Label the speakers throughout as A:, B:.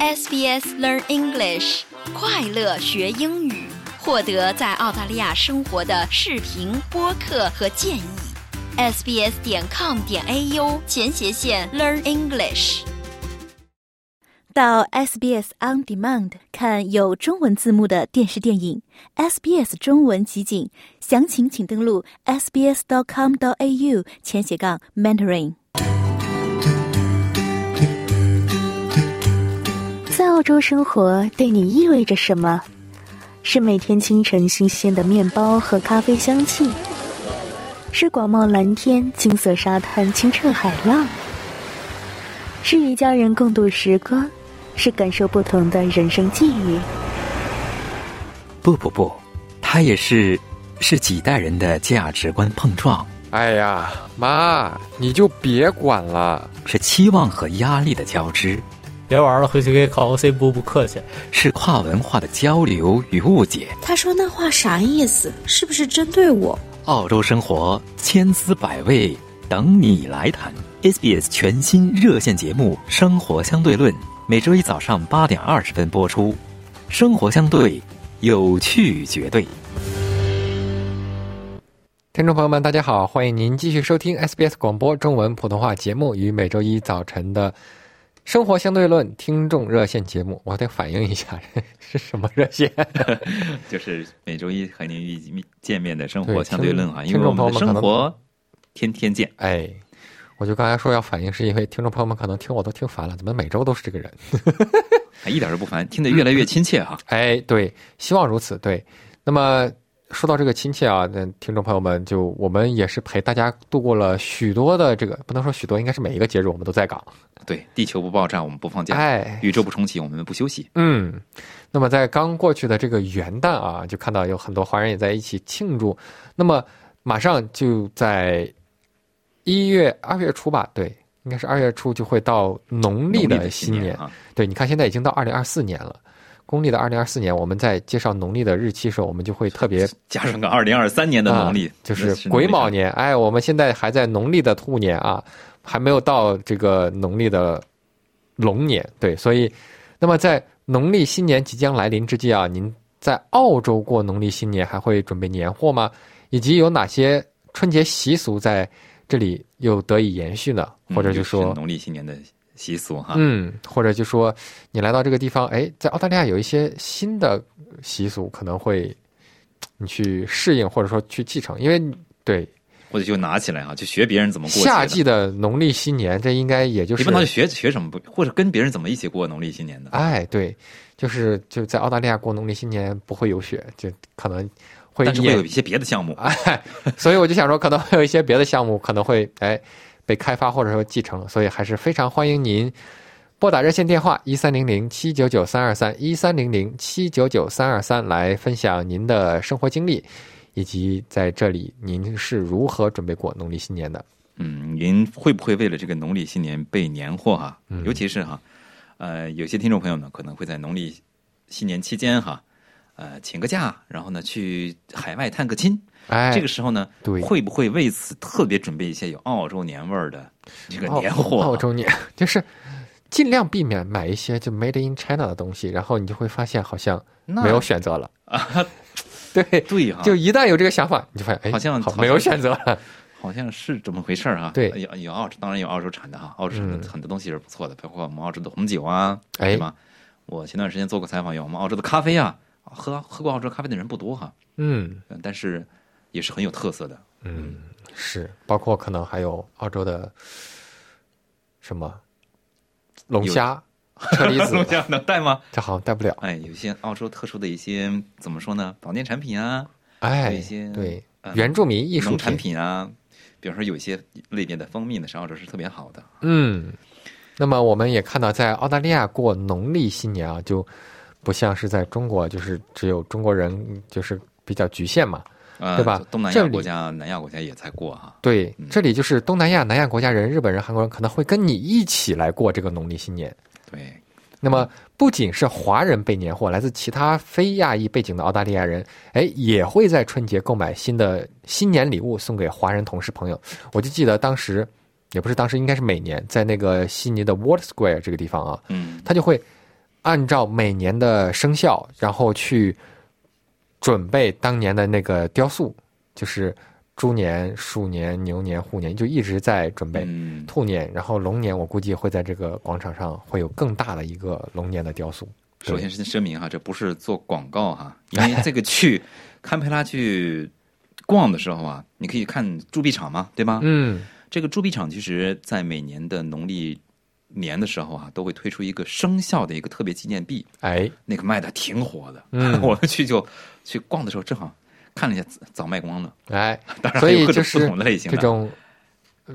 A: SBS Learn English，快乐学英语，获得在澳大利亚生活的视频、播客和建议。sbs 点 com 点 au 前斜线 Learn English。
B: 到 SBS On Demand 看有中文字幕的电视电影。SBS 中文集锦，详情请登录 sbs.com.au 前斜杠 mentoring。
C: 在澳洲生活对你意味着什么？是每天清晨新鲜的面包和咖啡香气，是广袤蓝天、金色沙滩、清澈海浪，是与家人共度时光，是感受不同的人生际遇。
D: 不不不，它也是是几代人的价值观碰撞，
E: 哎呀，妈，你就别管了。
D: 是期望和压力的交织，
F: 别玩了，回去给考 OC 补补课去。
D: 是跨文化的交流与误解。
G: 他说那话啥意思？是不是针对我？
D: 澳洲生活千姿百味，等你来谈。SBS 全新热线节目《生活相对论》，每周一早上八点二十分播出。生活相对，有趣绝对。
E: 听众朋友们，大家好，欢迎您继续收听 SBS 广播中文普通话节目与每周一早晨的《生活相对论》听众热线节目。我得反映一下， 是什么热线？
H: 就是每周一和您遇见面的生
E: 对
H: 活相对论啊，
E: 听
H: 因为我
E: 听众朋友
H: 们的
E: 们可
H: 生
E: 能
H: 活天天见。
E: 哎，我就刚才说要反映，是因为听众朋友们可能听我都听烦了，怎么每周都是这个人？
H: 哎一点都不烦，听得越来越亲切哈、
E: 哎，对，希望如此。对，那么说到这个亲切啊，那听众朋友们就我们也是陪大家度过了许多的这个，不能说许多，应该是每一个节日我们都在岗。
H: 对，地球不爆炸，我们不放假；
E: 哎，
H: 宇宙不重启，我们不休息。
E: 嗯，那么在刚过去的这个元旦啊，就看到有很多华人也在一起庆祝。那么马上就在一月、二月初吧，对，应该是二月初就会到农历
H: 农历
E: 的
H: 的
E: 新
H: 年啊，
E: 对，你看现在已经到二零二四年了，公历的二零二四年，我们在介绍农历的日期的时候，我们就会特别
H: 加上个二零二三年的农历，
E: 啊、就
H: 那
E: 是
H: 农历
E: 癸卯
H: 上。
E: 年。哎，我们现在还在农历的兔年啊，还没有到这个农历的龙年。对，所以，那么在农历新年即将来临之际啊，您在澳洲过农历新年还会准备年货吗？以及有哪些春节习俗在这里又得以延续呢？
H: 嗯
E: 或者
H: 就
E: 就是说，
H: 农历新年的习俗哈、
E: 嗯，或者就说你来到这个地方，哎，在澳大利亚有一些新的习俗，可能会你去适应或者说去继承，因为对
H: 或者就拿起来啊，就学别人怎么过节的
E: 夏季的农历新年，这应该也就
H: 你
E: 是
H: 问他学学什么不，或者跟别人怎么一起过农历新年的？
E: 哎，对，就是就在澳大利亚过农历新年不会有雪，就可能会
H: 但是会
E: 也
H: 有一些别的项目，
E: 哎，所以我就想说，可能会有一些别的项目可能会哎被开发或者说继承，所以还是非常欢迎您拨打热线电话一三零零七九九三二三一三零零七九九三二三来分享您的生活经历，以及在这里您是如何准备过农历新年的。
H: 嗯，您会不会为了这个农历新年备年货哈、
E: 嗯
H: 尤其是哈，呃，有些听众朋友呢，可能会在农历新年期间哈，呃，请个假，然后呢去海外探个亲。
E: 哎，
H: 这个时候呢，
E: 对
H: 会不会为此特别准备一些有澳洲年味儿的这个
E: 澳
H: 年货、
E: 澳洲年哦 就是尽量避免买一些就 Made in China 的东西，然后你就会发现好像
H: 那啊
E: 没有选择了。对，
H: 对哈、
E: 就一旦有这个想法，你就发现哎，
H: 啊好像好像
E: 没有选择了。
H: 好像是这么回事儿、哈。呃
E: 对
H: 有有澳洲，当然有澳洲产的哈，澳洲产
E: 嗯
H: 的很多东西是不错的，包括我们澳洲的红酒啊，
E: 哎
H: 对吧？我前段时间做过采访，有我们澳洲的咖啡啊，喝喝过澳洲咖啡的人不多哈、
E: 嗯
H: 嗯，但是也是很有特色的。
E: 嗯，是，包括可能还有澳洲的什么龙虾、车厘子，
H: 这样能带吗？
E: 这好像带不了。
H: 哎，有一些澳洲特殊的一些怎么说呢？保健产品啊，
E: 哎
H: 有一些，
E: 对，
H: 嗯
E: 原住民艺术
H: 农产，品啊，比方说有一些类别的蜂蜜呢，是澳洲是特别好的。
E: 嗯。那么我们也看到，在澳大利亚过农历新年啊，就不像是在中国，就是只有中国人就是比较局限嘛。
H: 呃、
E: 对吧
H: 东南
E: 这
H: 亚
E: 里
H: 国家、南亚国家也在过哈、
E: 对，
H: 嗯
E: 这里就是东南亚、南亚国家人、日本人、韩国人可能会跟你一起来过这个农历新年。
H: 对，
E: 那么，不仅是华人备年货，来自其他非亚裔背景的澳大利亚人，哎，也会在春节购买新的新年礼物送给华人同事朋友。我就记得当时，也不是当时，应该是每年在那个悉尼的 World Square 这个地方啊，
H: 嗯，
E: 他就会按照每年的生肖，然后去准备当年的那个雕塑，就是猪年、鼠年、牛年、虎年，就一直在准备。
H: 嗯，
E: 兔年，然后龙年，我估计会在这个广场上会有更大的一个龙年的雕塑。对
H: 首先是声明哈，这不是做广告哈，因 为这个去堪培拉去逛的时候啊，你可以看铸币厂嘛，对吧？
E: 嗯，
H: 这个铸币厂其实在每年的农历年的时候啊，都会推出一个生肖的一个特别纪念币，
E: 哎，
H: 那个卖的挺火的。
E: 嗯
H: 我去就去逛的时候，正好看了一下，早卖光了。
E: 哎，
H: 当然
E: 所
H: 还
E: 以
H: 有各
E: 就
H: 种
E: 是
H: 不同的类型
E: 这
H: 的。
E: 种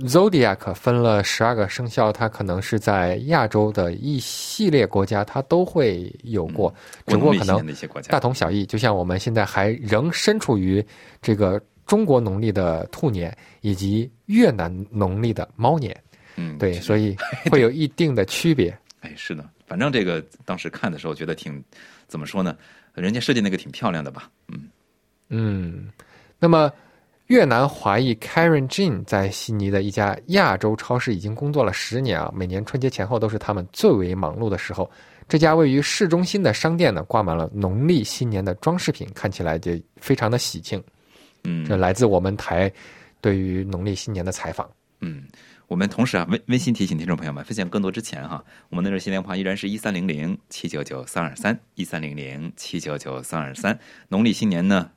E: zodiac 分了十二个生肖，它可能是在亚洲的一系列国家，它都会有过，只
H: 国
E: 嗯不过
H: 内
E: 可
H: 新年
E: 能
H: 的一些国家
E: 大，同小异。就像我们现在还仍身处于这个中国农历的兔年，以及越南农历的猫年，
H: 嗯，
E: 对，所
H: 以
E: 以会有一定的区别。
H: 哎，是的，反正这个当时看的时候觉得挺怎么说呢？人家设计那个挺漂亮的吧？嗯，
E: 嗯，那么越南华裔 Karen Jin 在悉尼的一家亚洲超市已经工作了十年啊，每年春节前后都是他们最为忙碌的时候。这家位于市中心的商店呢，挂满了农历新年的装饰品，看起来就非常的喜庆。
H: 嗯，
E: 这来自我们台对于农历新年的采访。
H: 嗯，我们同时啊，温温馨提醒听众朋友们，分享更多之前哈，我们的热线电话依然是一三零零七九九三二三一三零零七九九三二三。农历新年呢，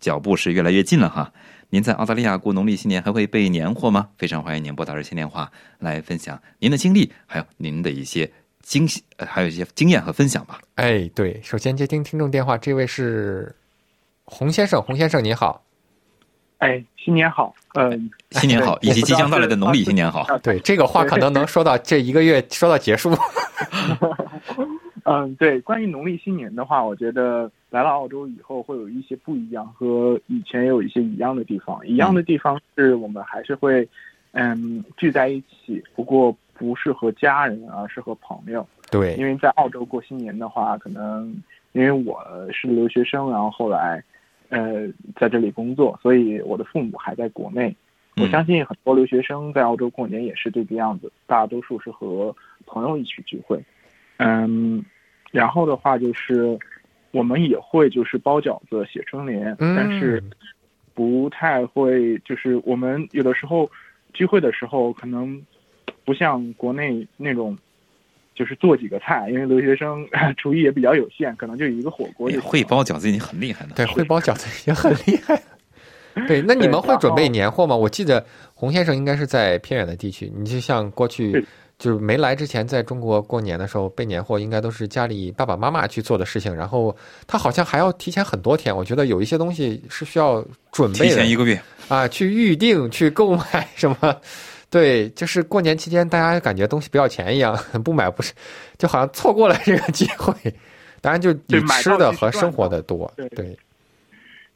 H: 脚步是越来越近了哈。您在澳大利亚过农历新年还会备年货吗？非常欢迎您拨打热线电话来分享您的经历，还有您的一些经喜，呃还有一些经验和分享吧。
E: 哎，对，首先接听听众电话，这位是洪先生，洪先生您好。
I: 哎，新年好，嗯、
H: 新年好，
I: 对
H: 以及即将到来的农历新年好。
E: 对，这个话可能能说到这一个月，说到结束。
I: 嗯、对，关于农历新年的话，我觉得来了澳洲以后会有一些不一样，和以前也有一些一样的地方。一样的地方是我们还是会，嗯，聚在一起，不过不是和家人，而是和朋友。
E: 对
I: 因，为在澳洲过新年的话，可能因为我是留学生，然后后来，呃，在这里工作，所以我的父母还在国内。我
H: 嗯
I: 相信很多留学生在澳洲过年也是这个样子，大多数是和朋友一起聚会。嗯，然后的话就是，我们也会就是包饺子、写春联，
E: 嗯
I: 但是不太会，就是我们有的时候聚会的时候，可能不像国内那种。就是做几个菜，因为留学生 厨艺也比较有限，可能就一个火锅就
H: 也
I: 行了
H: 嗯哎会包饺子已经很厉害了。
E: 对，会包饺子也很厉害。对，那你们会准备年货吗？我记得洪先生应该是在偏远的地区，你就像过去
I: 对
E: 就是没来之前，在中国过年的时候备年货，应该都是家里爸爸妈妈去做的事情。然后他好像还要提前很多天，我觉得有一些东西是需要准备
H: 提前一个
E: 的
H: 月，
E: 啊，去预定、去购买什么。对，就是过年期间，大家感觉东西不要钱一样，啊不买不是，就好像错过了这个机会。当然，就以
I: 对买到
E: 吃的
I: 就是
E: 和
I: 赚
E: 生活
I: 到
E: 的多，
I: 对
E: 对。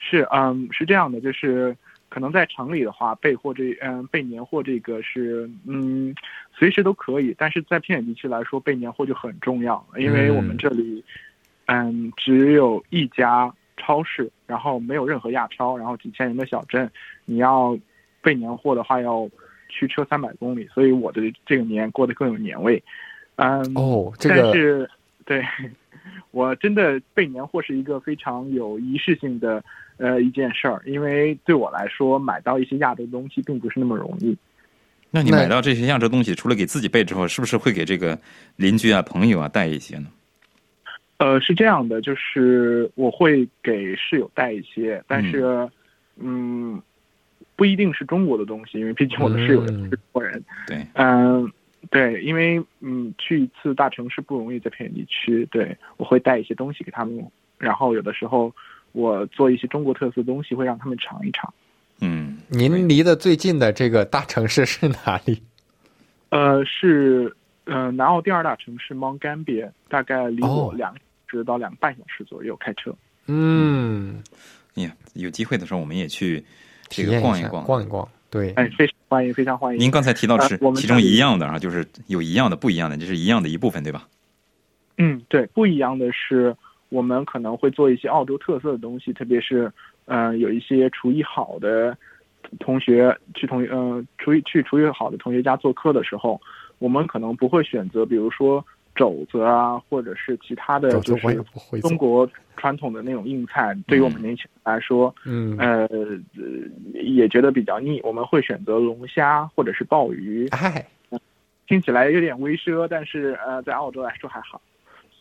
I: 是，嗯，是这样的，就是可能在城里的话，备货这，嗯，备年货这个是，嗯，随时都可以，但是在偏远地区来说，备年货就很重要，因为我们这里，嗯，只有一家超市，然后没有任何亚超，然后几千人的小镇，你要备年货的话，要驱车三百公里，所以我的这个年过得更有年味，嗯，
E: 哦，这
I: 但
E: 个
I: 是对 我真的备年货是一个非常有仪式性的呃一件事儿，因为对我来说买到一些亚洲东西并不是那么容易。
H: 那你
E: 那
H: 买到这些样式东西，除了给自己备之后，是不是会给这个邻居啊、朋友啊带一些呢？
I: 呃，是这样的，就是我会给室友带一些，但是嗯不一定是中国的东西，因为毕竟我的室
E: 嗯
I: 友也不是中国人。
H: 对，
I: 嗯、对，因为嗯去一次大城市不容易，在偏远地区，对我会带一些东西给他们，然后有的时候我做一些中国特色的东西，会让他们尝一尝。
H: 嗯，
E: 您离得最近的这个大城市是哪里？
I: 嗯呃，是呃南澳第二大城市 Mount Gambier，大概离
E: 哦
I: 我两个小时到两个半小时左右开车。
E: 嗯，
H: 哎呀，有机会的时候我们也去
E: 体
H: 这
E: 验
H: 个
E: 一
H: 逛
E: 下，
H: 逛。
E: 逛一逛。对，
I: 哎，非常欢迎，非常欢迎。
H: 您刚才提到是
I: 呃我们
H: 其中
I: 这里
H: 一样的啊，就是有一样的、不一样的，这是一样的一部分，对吧？
I: 嗯，对，不一样的是，我们可能会做一些澳洲特色的东西，特别是，呃，有一些厨艺好的同学去同呃厨艺去厨艺好的同学家做客的时候，我们可能不会选择，比如说肘子啊，或者是其他的
E: 肘子
I: 就
E: 我也
I: 是
E: 不会做
I: 中。国传统的那种硬菜，对于我们年轻人来说，
E: 嗯，
I: 呃，呃也觉得比较腻。我们会选择龙虾或者是鲍鱼，
E: 哎，
I: 听起来有点微奢，但是呃，在澳洲来说还好。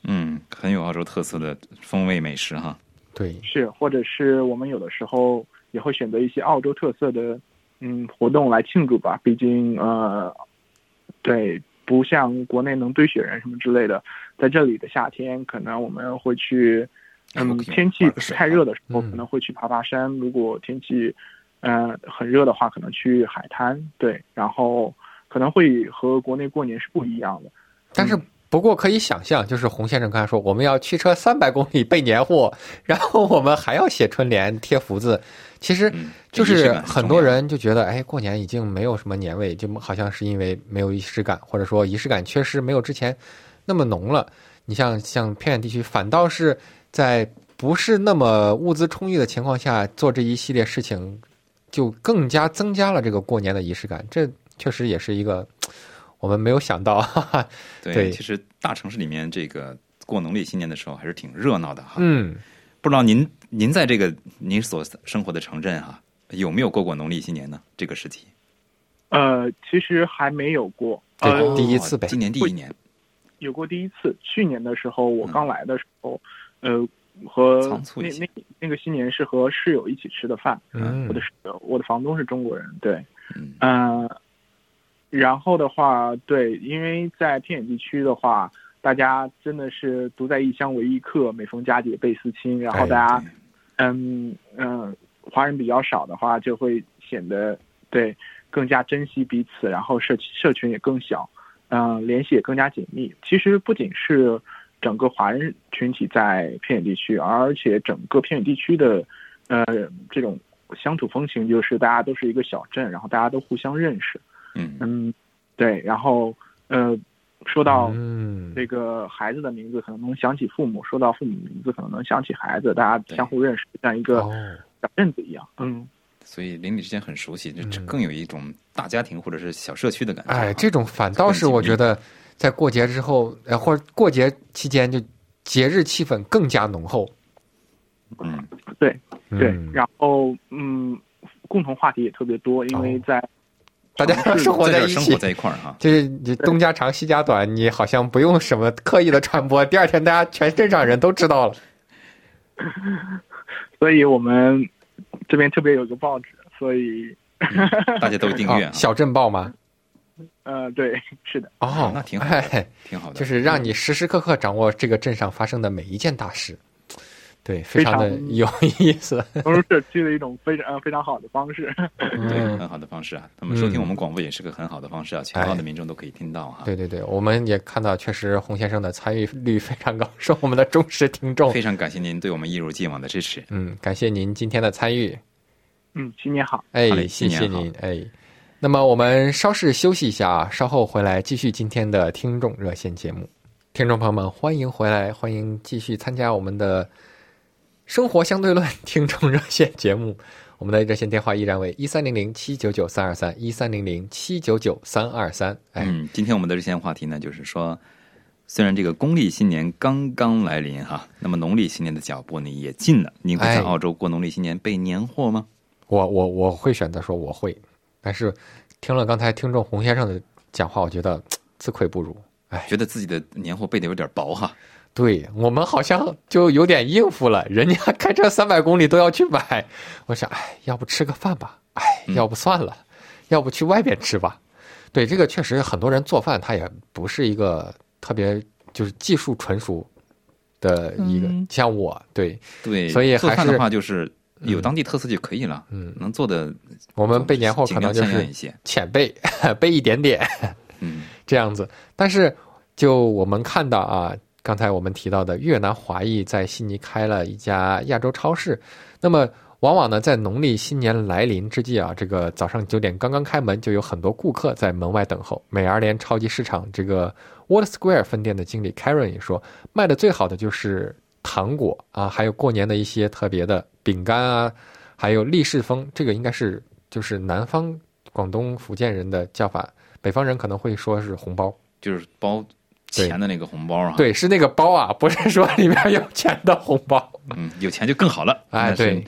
H: 嗯，很有澳洲特色的风味美食哈。
E: 对，
I: 是，或者是我们有的时候也会选择一些澳洲特色的嗯活动来庆祝吧。毕竟呃，对，不像国内能堆雪人什么之类的，在这里的夏天，可能我们会去，嗯，
H: OK，
I: 天气
H: 玩
I: 不
H: 个
I: 是
H: 水
I: 太热的时候，
E: 嗯
I: 可能会去爬爬山；如果天气嗯、呃很热的话，可能去海滩。对，然后可能会和国内过年是不一样的。
E: 但是不过可以想象，就是洪先生刚才说，我们要驱车三百公里备年货， 然后我们还要写春联、贴福字。其实
H: 嗯
E: 就
H: 这仪式
E: 是
H: 感很
E: 很
H: 重
E: 多
H: 要
E: 人就觉得，哎，过年已经没有什么年味，就好像是因为没有仪式感，或者说仪式感缺失，没有之前那么浓了。你像像偏远地区，反倒是在不是那么物资充裕的情况下做这一系列事情，就更加增加了这个过年的仪式感。这确实也是一个我们没有想到，哈哈，
H: 对，
E: 对
H: 其实大城市里面这个过农历新年的时候还是挺热闹的哈。
E: 嗯。
H: 不知道您您在这个您所生活的城镇哈、有没有过过农历新年呢？这个时期，
I: 呃，其实还没有过，
E: 对
I: 呃，
E: 第一次呗
H: 哦今年第一年，
I: 有过第一次，去年的时候我
H: 嗯
I: 刚来的时候，呃，和
H: 仓促
I: 那
H: 一些
I: 那那个新年是和室友一起吃的饭，
E: 嗯
I: 我的室友我的房东是中国人，对，
H: 嗯，
I: 嗯、然后的话，对，因为在偏远地区的话，大家真的是独在异乡为异客，每逢佳节倍思亲，然后
E: 哎
I: 大家、
H: 对
I: 嗯嗯，华人比较少的话，就会显得对更加珍惜彼此，然后社社群也更小，嗯、联系也更加紧密。其实不仅是整个华人群体在偏远地区，而且整个偏远地区的呃这种乡土风情，就是大家都是一个小镇，然后大家都互相认识。
H: 嗯，
I: 嗯，对，然后呃，说到
E: 嗯，
I: 这个孩子的名字可能能想起父母，说到父母名字可能能想起孩子，大家
H: 对
I: 相互认识，像一个
E: 哦，
I: 小镇子一样。嗯，
H: 所以邻里之间很熟悉，这这
E: 嗯
H: 更有一种大家庭或者是小社区的感觉啊哈。
E: 哎，这种反倒是我觉得，在过节之后，呃，或者过节期间，就节日气氛更加浓厚。
H: 嗯，
I: 对对，
E: 嗯
I: 然后嗯，共同话题也特别多，因为
E: 哦
I: 在、
E: 大家生活
H: 在
E: 在
H: 这
E: 一
H: 儿生活
E: 起，
H: 在一块儿 哈，
E: 就是你东家长西家短，你好像不用什么刻意的传播，第二天大家全镇上人都知道了。
I: 所以我们这边特别有一个报纸，所以
H: 大家都订阅啊，
E: 啊小镇报吗？
I: 呃，对，是的，
E: 哦，
H: 那挺好的
E: 哎，
H: 挺好的，
E: 就是让你时时刻刻掌握这个镇上发生的每一件大事。对，非常的
I: 非常
E: 有意思。
I: 融入社区的一种非常呃非常好的方式。
H: 对
E: 嗯
H: 很好的方式啊。那么收听我们广播也是个很好的方式啊，全澳的民众都可以听到哈。
E: 哎对对对，我们也看到，确实洪先生的参与率非常高，是我们的忠实听众
H: 非。常感谢您对我们一如既往的支持。
E: 嗯，感谢您今天的参与，
I: 嗯，新年好，
E: 哎
H: 好，嘞新
E: 谢
H: 年
E: 谢
H: 好
E: 您，哎。那么我们稍事休息一下啊，稍后回来继续今天的听众热线节目。听众朋友们，欢迎回来，欢迎继续参加我们的生活相对论听众热线节目。我们的热线电话依然为一三零零七九九三二三一三零零七九九三二三。哎，
H: 嗯，今天我们的热线话题呢，就是说，虽然这个公历新年刚刚来临哈，那么农历新年的脚步呢也近了。您会
E: 哎
H: 在澳洲过农历新年备年货吗？
E: 我我我会选择说我会，但是听了刚才听众洪先生的讲话，我觉得自愧不如。哎，
H: 觉得自己的年货备的有点薄哈。
E: 对我们好像就有点应付了，人家开车三百公里都要去买，我想，哎，要不吃个饭吧？哎，
H: 嗯
E: 要不算了，要不去外边吃吧？对，这个确实很多人做饭，他也不是一个特别就是技术纯熟的一个，像我对
H: 对，
E: 所以还
H: 做饭
E: 是
H: 的话就是有
E: 嗯
H: 当地特色就可以了，
E: 嗯
H: 能做的
E: 我
H: 我
E: 们备年货可能就
H: 像样
E: 是
H: 一些，
E: 浅 备，备一点点。
H: 嗯，
E: 这样子。但是就我们看到啊，刚才我们提到的越南华裔在悉尼开了一家亚洲超市，那么。往往呢，在农历新年来临之际啊，这个早上九点刚刚开门，就有很多顾客在门外等候。美而联超级市场这个 Wall Square 分店的经理 Karen 也说，卖的最好的就是糖果啊，还有过年的一些特别的饼干啊，还有立式风，这个应该是就是南方广东福建人的叫法，北方人可能会说是红包。
H: 就是包钱的那个红包啊。，
E: 对，是那个包啊，不是说里面有钱的红包。
H: 嗯，有钱就更好了。
E: 哎
H: 那是
E: 对。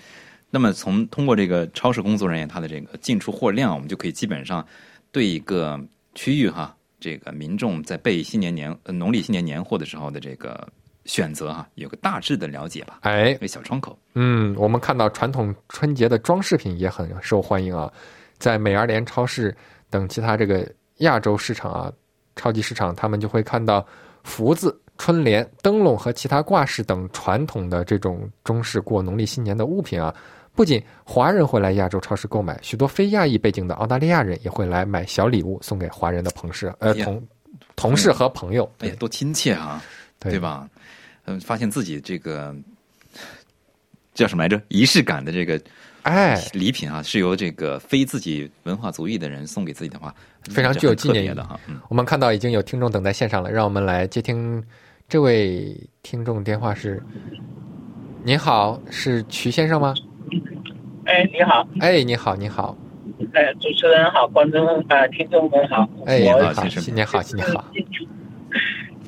H: 那么从通过这个超市工作人员他的这个进出货量，我们就可以基本上对一个区域哈，这个民众在备新年年呃农历新年年货的时候的这个选择哈，有个大致的了解吧，
E: 哎
H: 一，个小窗口。
E: 嗯，我们看到传统春节的装饰品也很受欢迎啊，在美而莲超市等其他这个亚洲市场啊、超级市场，他们就会看到福字、春联、灯笼和其他挂饰等传统的这种中式过农历新年的物品啊。不仅华人会来亚洲超市购买，许多非亚裔背景的澳大利亚人也会来买小礼物送给华人的朋事呃
H: 哎呀
E: 同同事和朋友，
H: 哎呀
E: 对，
H: 多亲切啊，
E: 对
H: 对？吧？嗯，发现自己这个叫什么来着？仪式感的这个
E: 哎，
H: 礼品啊，是由这个非自己文化族裔的人送给自己的话，
E: 非常具有纪念意义
H: 这很特别的哈。嗯，
E: 我们看到已经有听众等在线上了，让我们来接听这位听众电话是。您好，是瞿先生吗？
J: 哎，你好，
E: 哎，你好，你好，
J: 呃，主持人好，观众呃，听众们好，
E: 哎，
J: 我
H: 好
E: 好，
H: 先生
E: 新年好，新年好，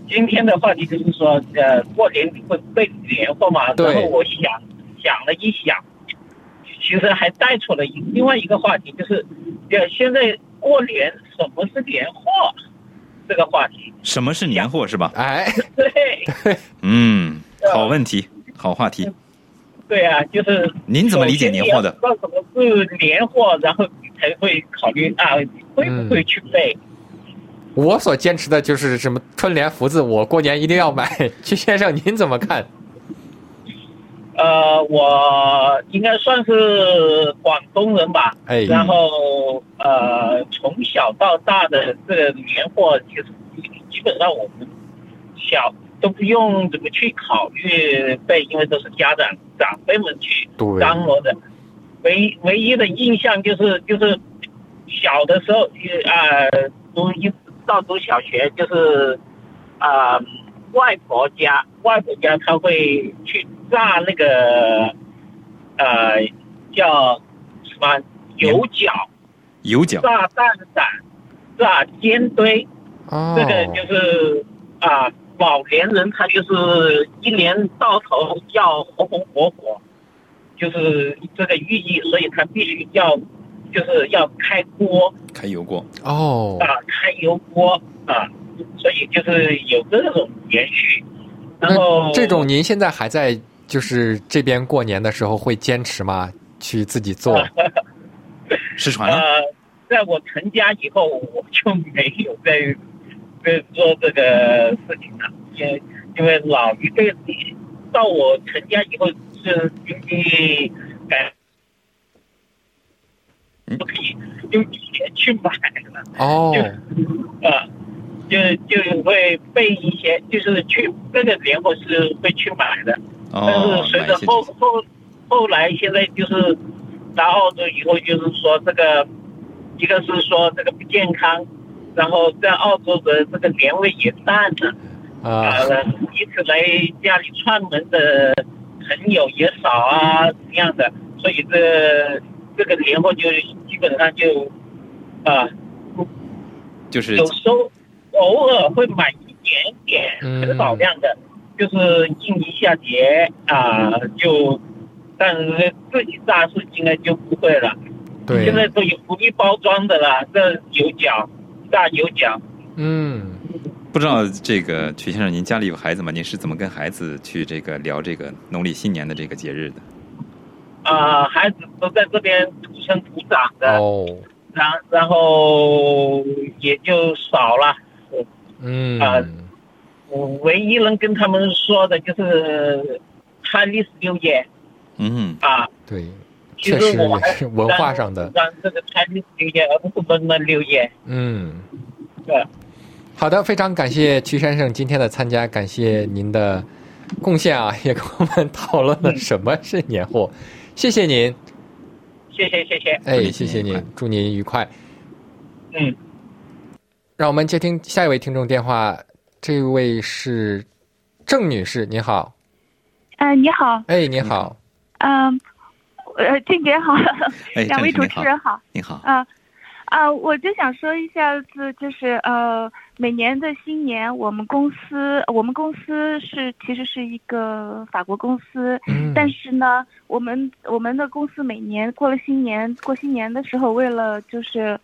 J: 今天的话题就是说，呃，过年会备年货嘛，
E: 对
J: 然后我想想了一想，其实还带出了一另外一个话题，就是呃，现在过年什么是年货这个话题，
H: 什么是年货是吧？
E: 哎，
J: 对
H: 嗯，好问题，好话题。
J: 对啊，就是
H: 您怎么理解年货的？
J: 知道什么是年货，然后你才会考虑啊，会不
H: 嗯
J: 会去备？
E: 我所坚持的就是什么春联福字，我过年一定要买。 瞿先生，您怎么看？
J: 呃，我应该算是广东人吧，
E: 哎，
J: 然后呃，从小到大的这个年货，其实基本上我们小都不用怎么去考虑备，因为都是家长长辈们去
E: 对，
J: 张罗的。唯唯一的印象就是就是小的时候，呃，读一到读小学就是，啊、外婆家外婆家他会去炸那个，呃，叫什么油角
H: 有奖
J: 炸蛋散、炸煎堆，
E: 哦
J: 这个就是啊、老年人他就是一年到头要红红火火，就是这个寓意，所以他必须要就是要开锅
H: 开油锅，
E: 哦
J: 啊、，开油锅啊、所以就是有这种延续。然后
E: 那这种您现在还在就是这边过年的时候会坚持吗？去自己 做？
H: 失传了。
J: 呃，在我成家以后，我就没有再再做这个事情了，因因为老一辈到我成家以后是经济改
H: 嗯
J: 不可以用钱去买了，
E: 哦，
J: 呃，就就会备一些，就是去那个年货是会去买的。但
K: 呃
H: 哦
J: 是，随
H: 买
J: 着
H: 一些
J: 后后后来，现在就是来澳洲以后，就是说这个，一个是说这个不健康，然后在澳洲的这个年味也淡了，
E: 啊
J: 啊，，一起来家里串门的朋友也少啊，怎么样的，所以这这个年货就基本上就，啊，
H: 就是
J: 有时候偶尔会买一点点，
E: 嗯
J: 很少量的，就是应一下节啊、就，但是自己榨是应该就不会了。
E: 对，
J: 现在都有不易包装的啦，这油角、榨油角，
E: 嗯。
H: 不知道这个曲先生，您家里有孩子吗？您是怎么跟孩子去这个聊这个农历新年的这个节日的？
J: 啊、孩子都在这边土生土长的，
E: 哦，
J: 然然后也就少了。
E: 嗯，
J: 啊我唯一能跟他们说的就是，Chinese New Year
H: 嗯，
J: 啊，
E: 对，
J: 其
E: 确
J: 实
E: 实
J: 我还
E: 也是文化上的，
J: 让这个 Chinese New Year 而不是温温六月。
E: 嗯，
J: 对。
E: 好的，非常感谢曲先生今天的参加，感谢您的贡献啊，也跟我们讨论
J: 嗯
E: 了什么是年货，谢谢您，
J: 谢谢谢谢，
E: 哎，
H: 您
E: 谢
H: 新
E: 谢
H: 年愉
E: 您
H: 快，
E: 祝您愉快。
J: 嗯，
E: 让我们接听下一位听众电话，这位是郑女士，您好，
K: 呃，你好，
E: 哎，您好，
K: 嗯、呃，静姐好，
H: 哎，
K: 两位
H: 郑
K: 主
H: 女士
K: 持人好，
H: 您好，
K: 啊、呃，我就想说一下子，就是呃，每年的新年，我们公司，我们公司是其实是一个法国公司，
E: 嗯
K: 但是呢，我们我们的公司每年过了新年，过新年的时候，为了就是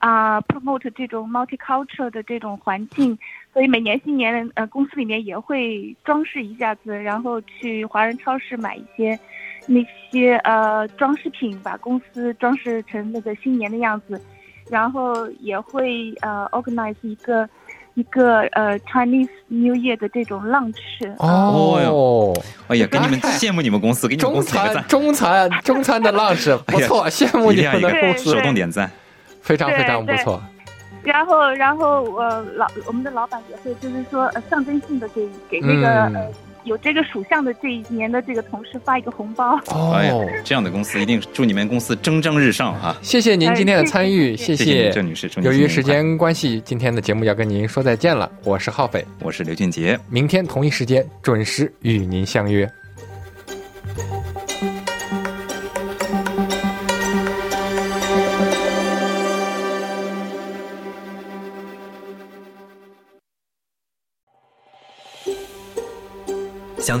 K: 啊、promote 这种 multicultural 的这种环境，所以每年新年，呃，公司里面也会装饰一下子，然后去华人超市买一些。那些呃装饰品，把公司装饰成那个新年的样子，然后也会呃 organize 一个一个呃 Chinese New Year 的这种 lunch
E: 哦，
H: 哎呀，给 你们羡慕你们公司，给你们
E: 中
H: 公司哎点个赞
E: 餐，中餐 中餐的 lunch 不错，羡慕
H: 一
E: 你
H: 定要
E: 们
H: 一
E: 的
H: 个
E: 公司
H: 手，动点赞。
E: 非常
K: 对
E: 非常不
K: 对
E: 错。
K: 然后，然后呃，老我们的老板也会就是说呃象征性的给给那个、
H: 嗯
K: 呃有这个属相的这一年的这个同事发一个红包。
E: 哦
H: 哎呀，这样的公司一定祝你们公司蒸蒸日上啊！
E: 谢谢您今天的参
K: 哎
E: 与，
H: 谢
E: 谢
H: 谢郑女士，祝您
E: 由
H: 新
E: 于
H: 年
E: 时
H: 快乐
E: 间关系，今天的节目要跟您说再见了。我是浩斐，
H: 我是刘俊杰，
E: 明天同一时间准时与您相约。
D: 想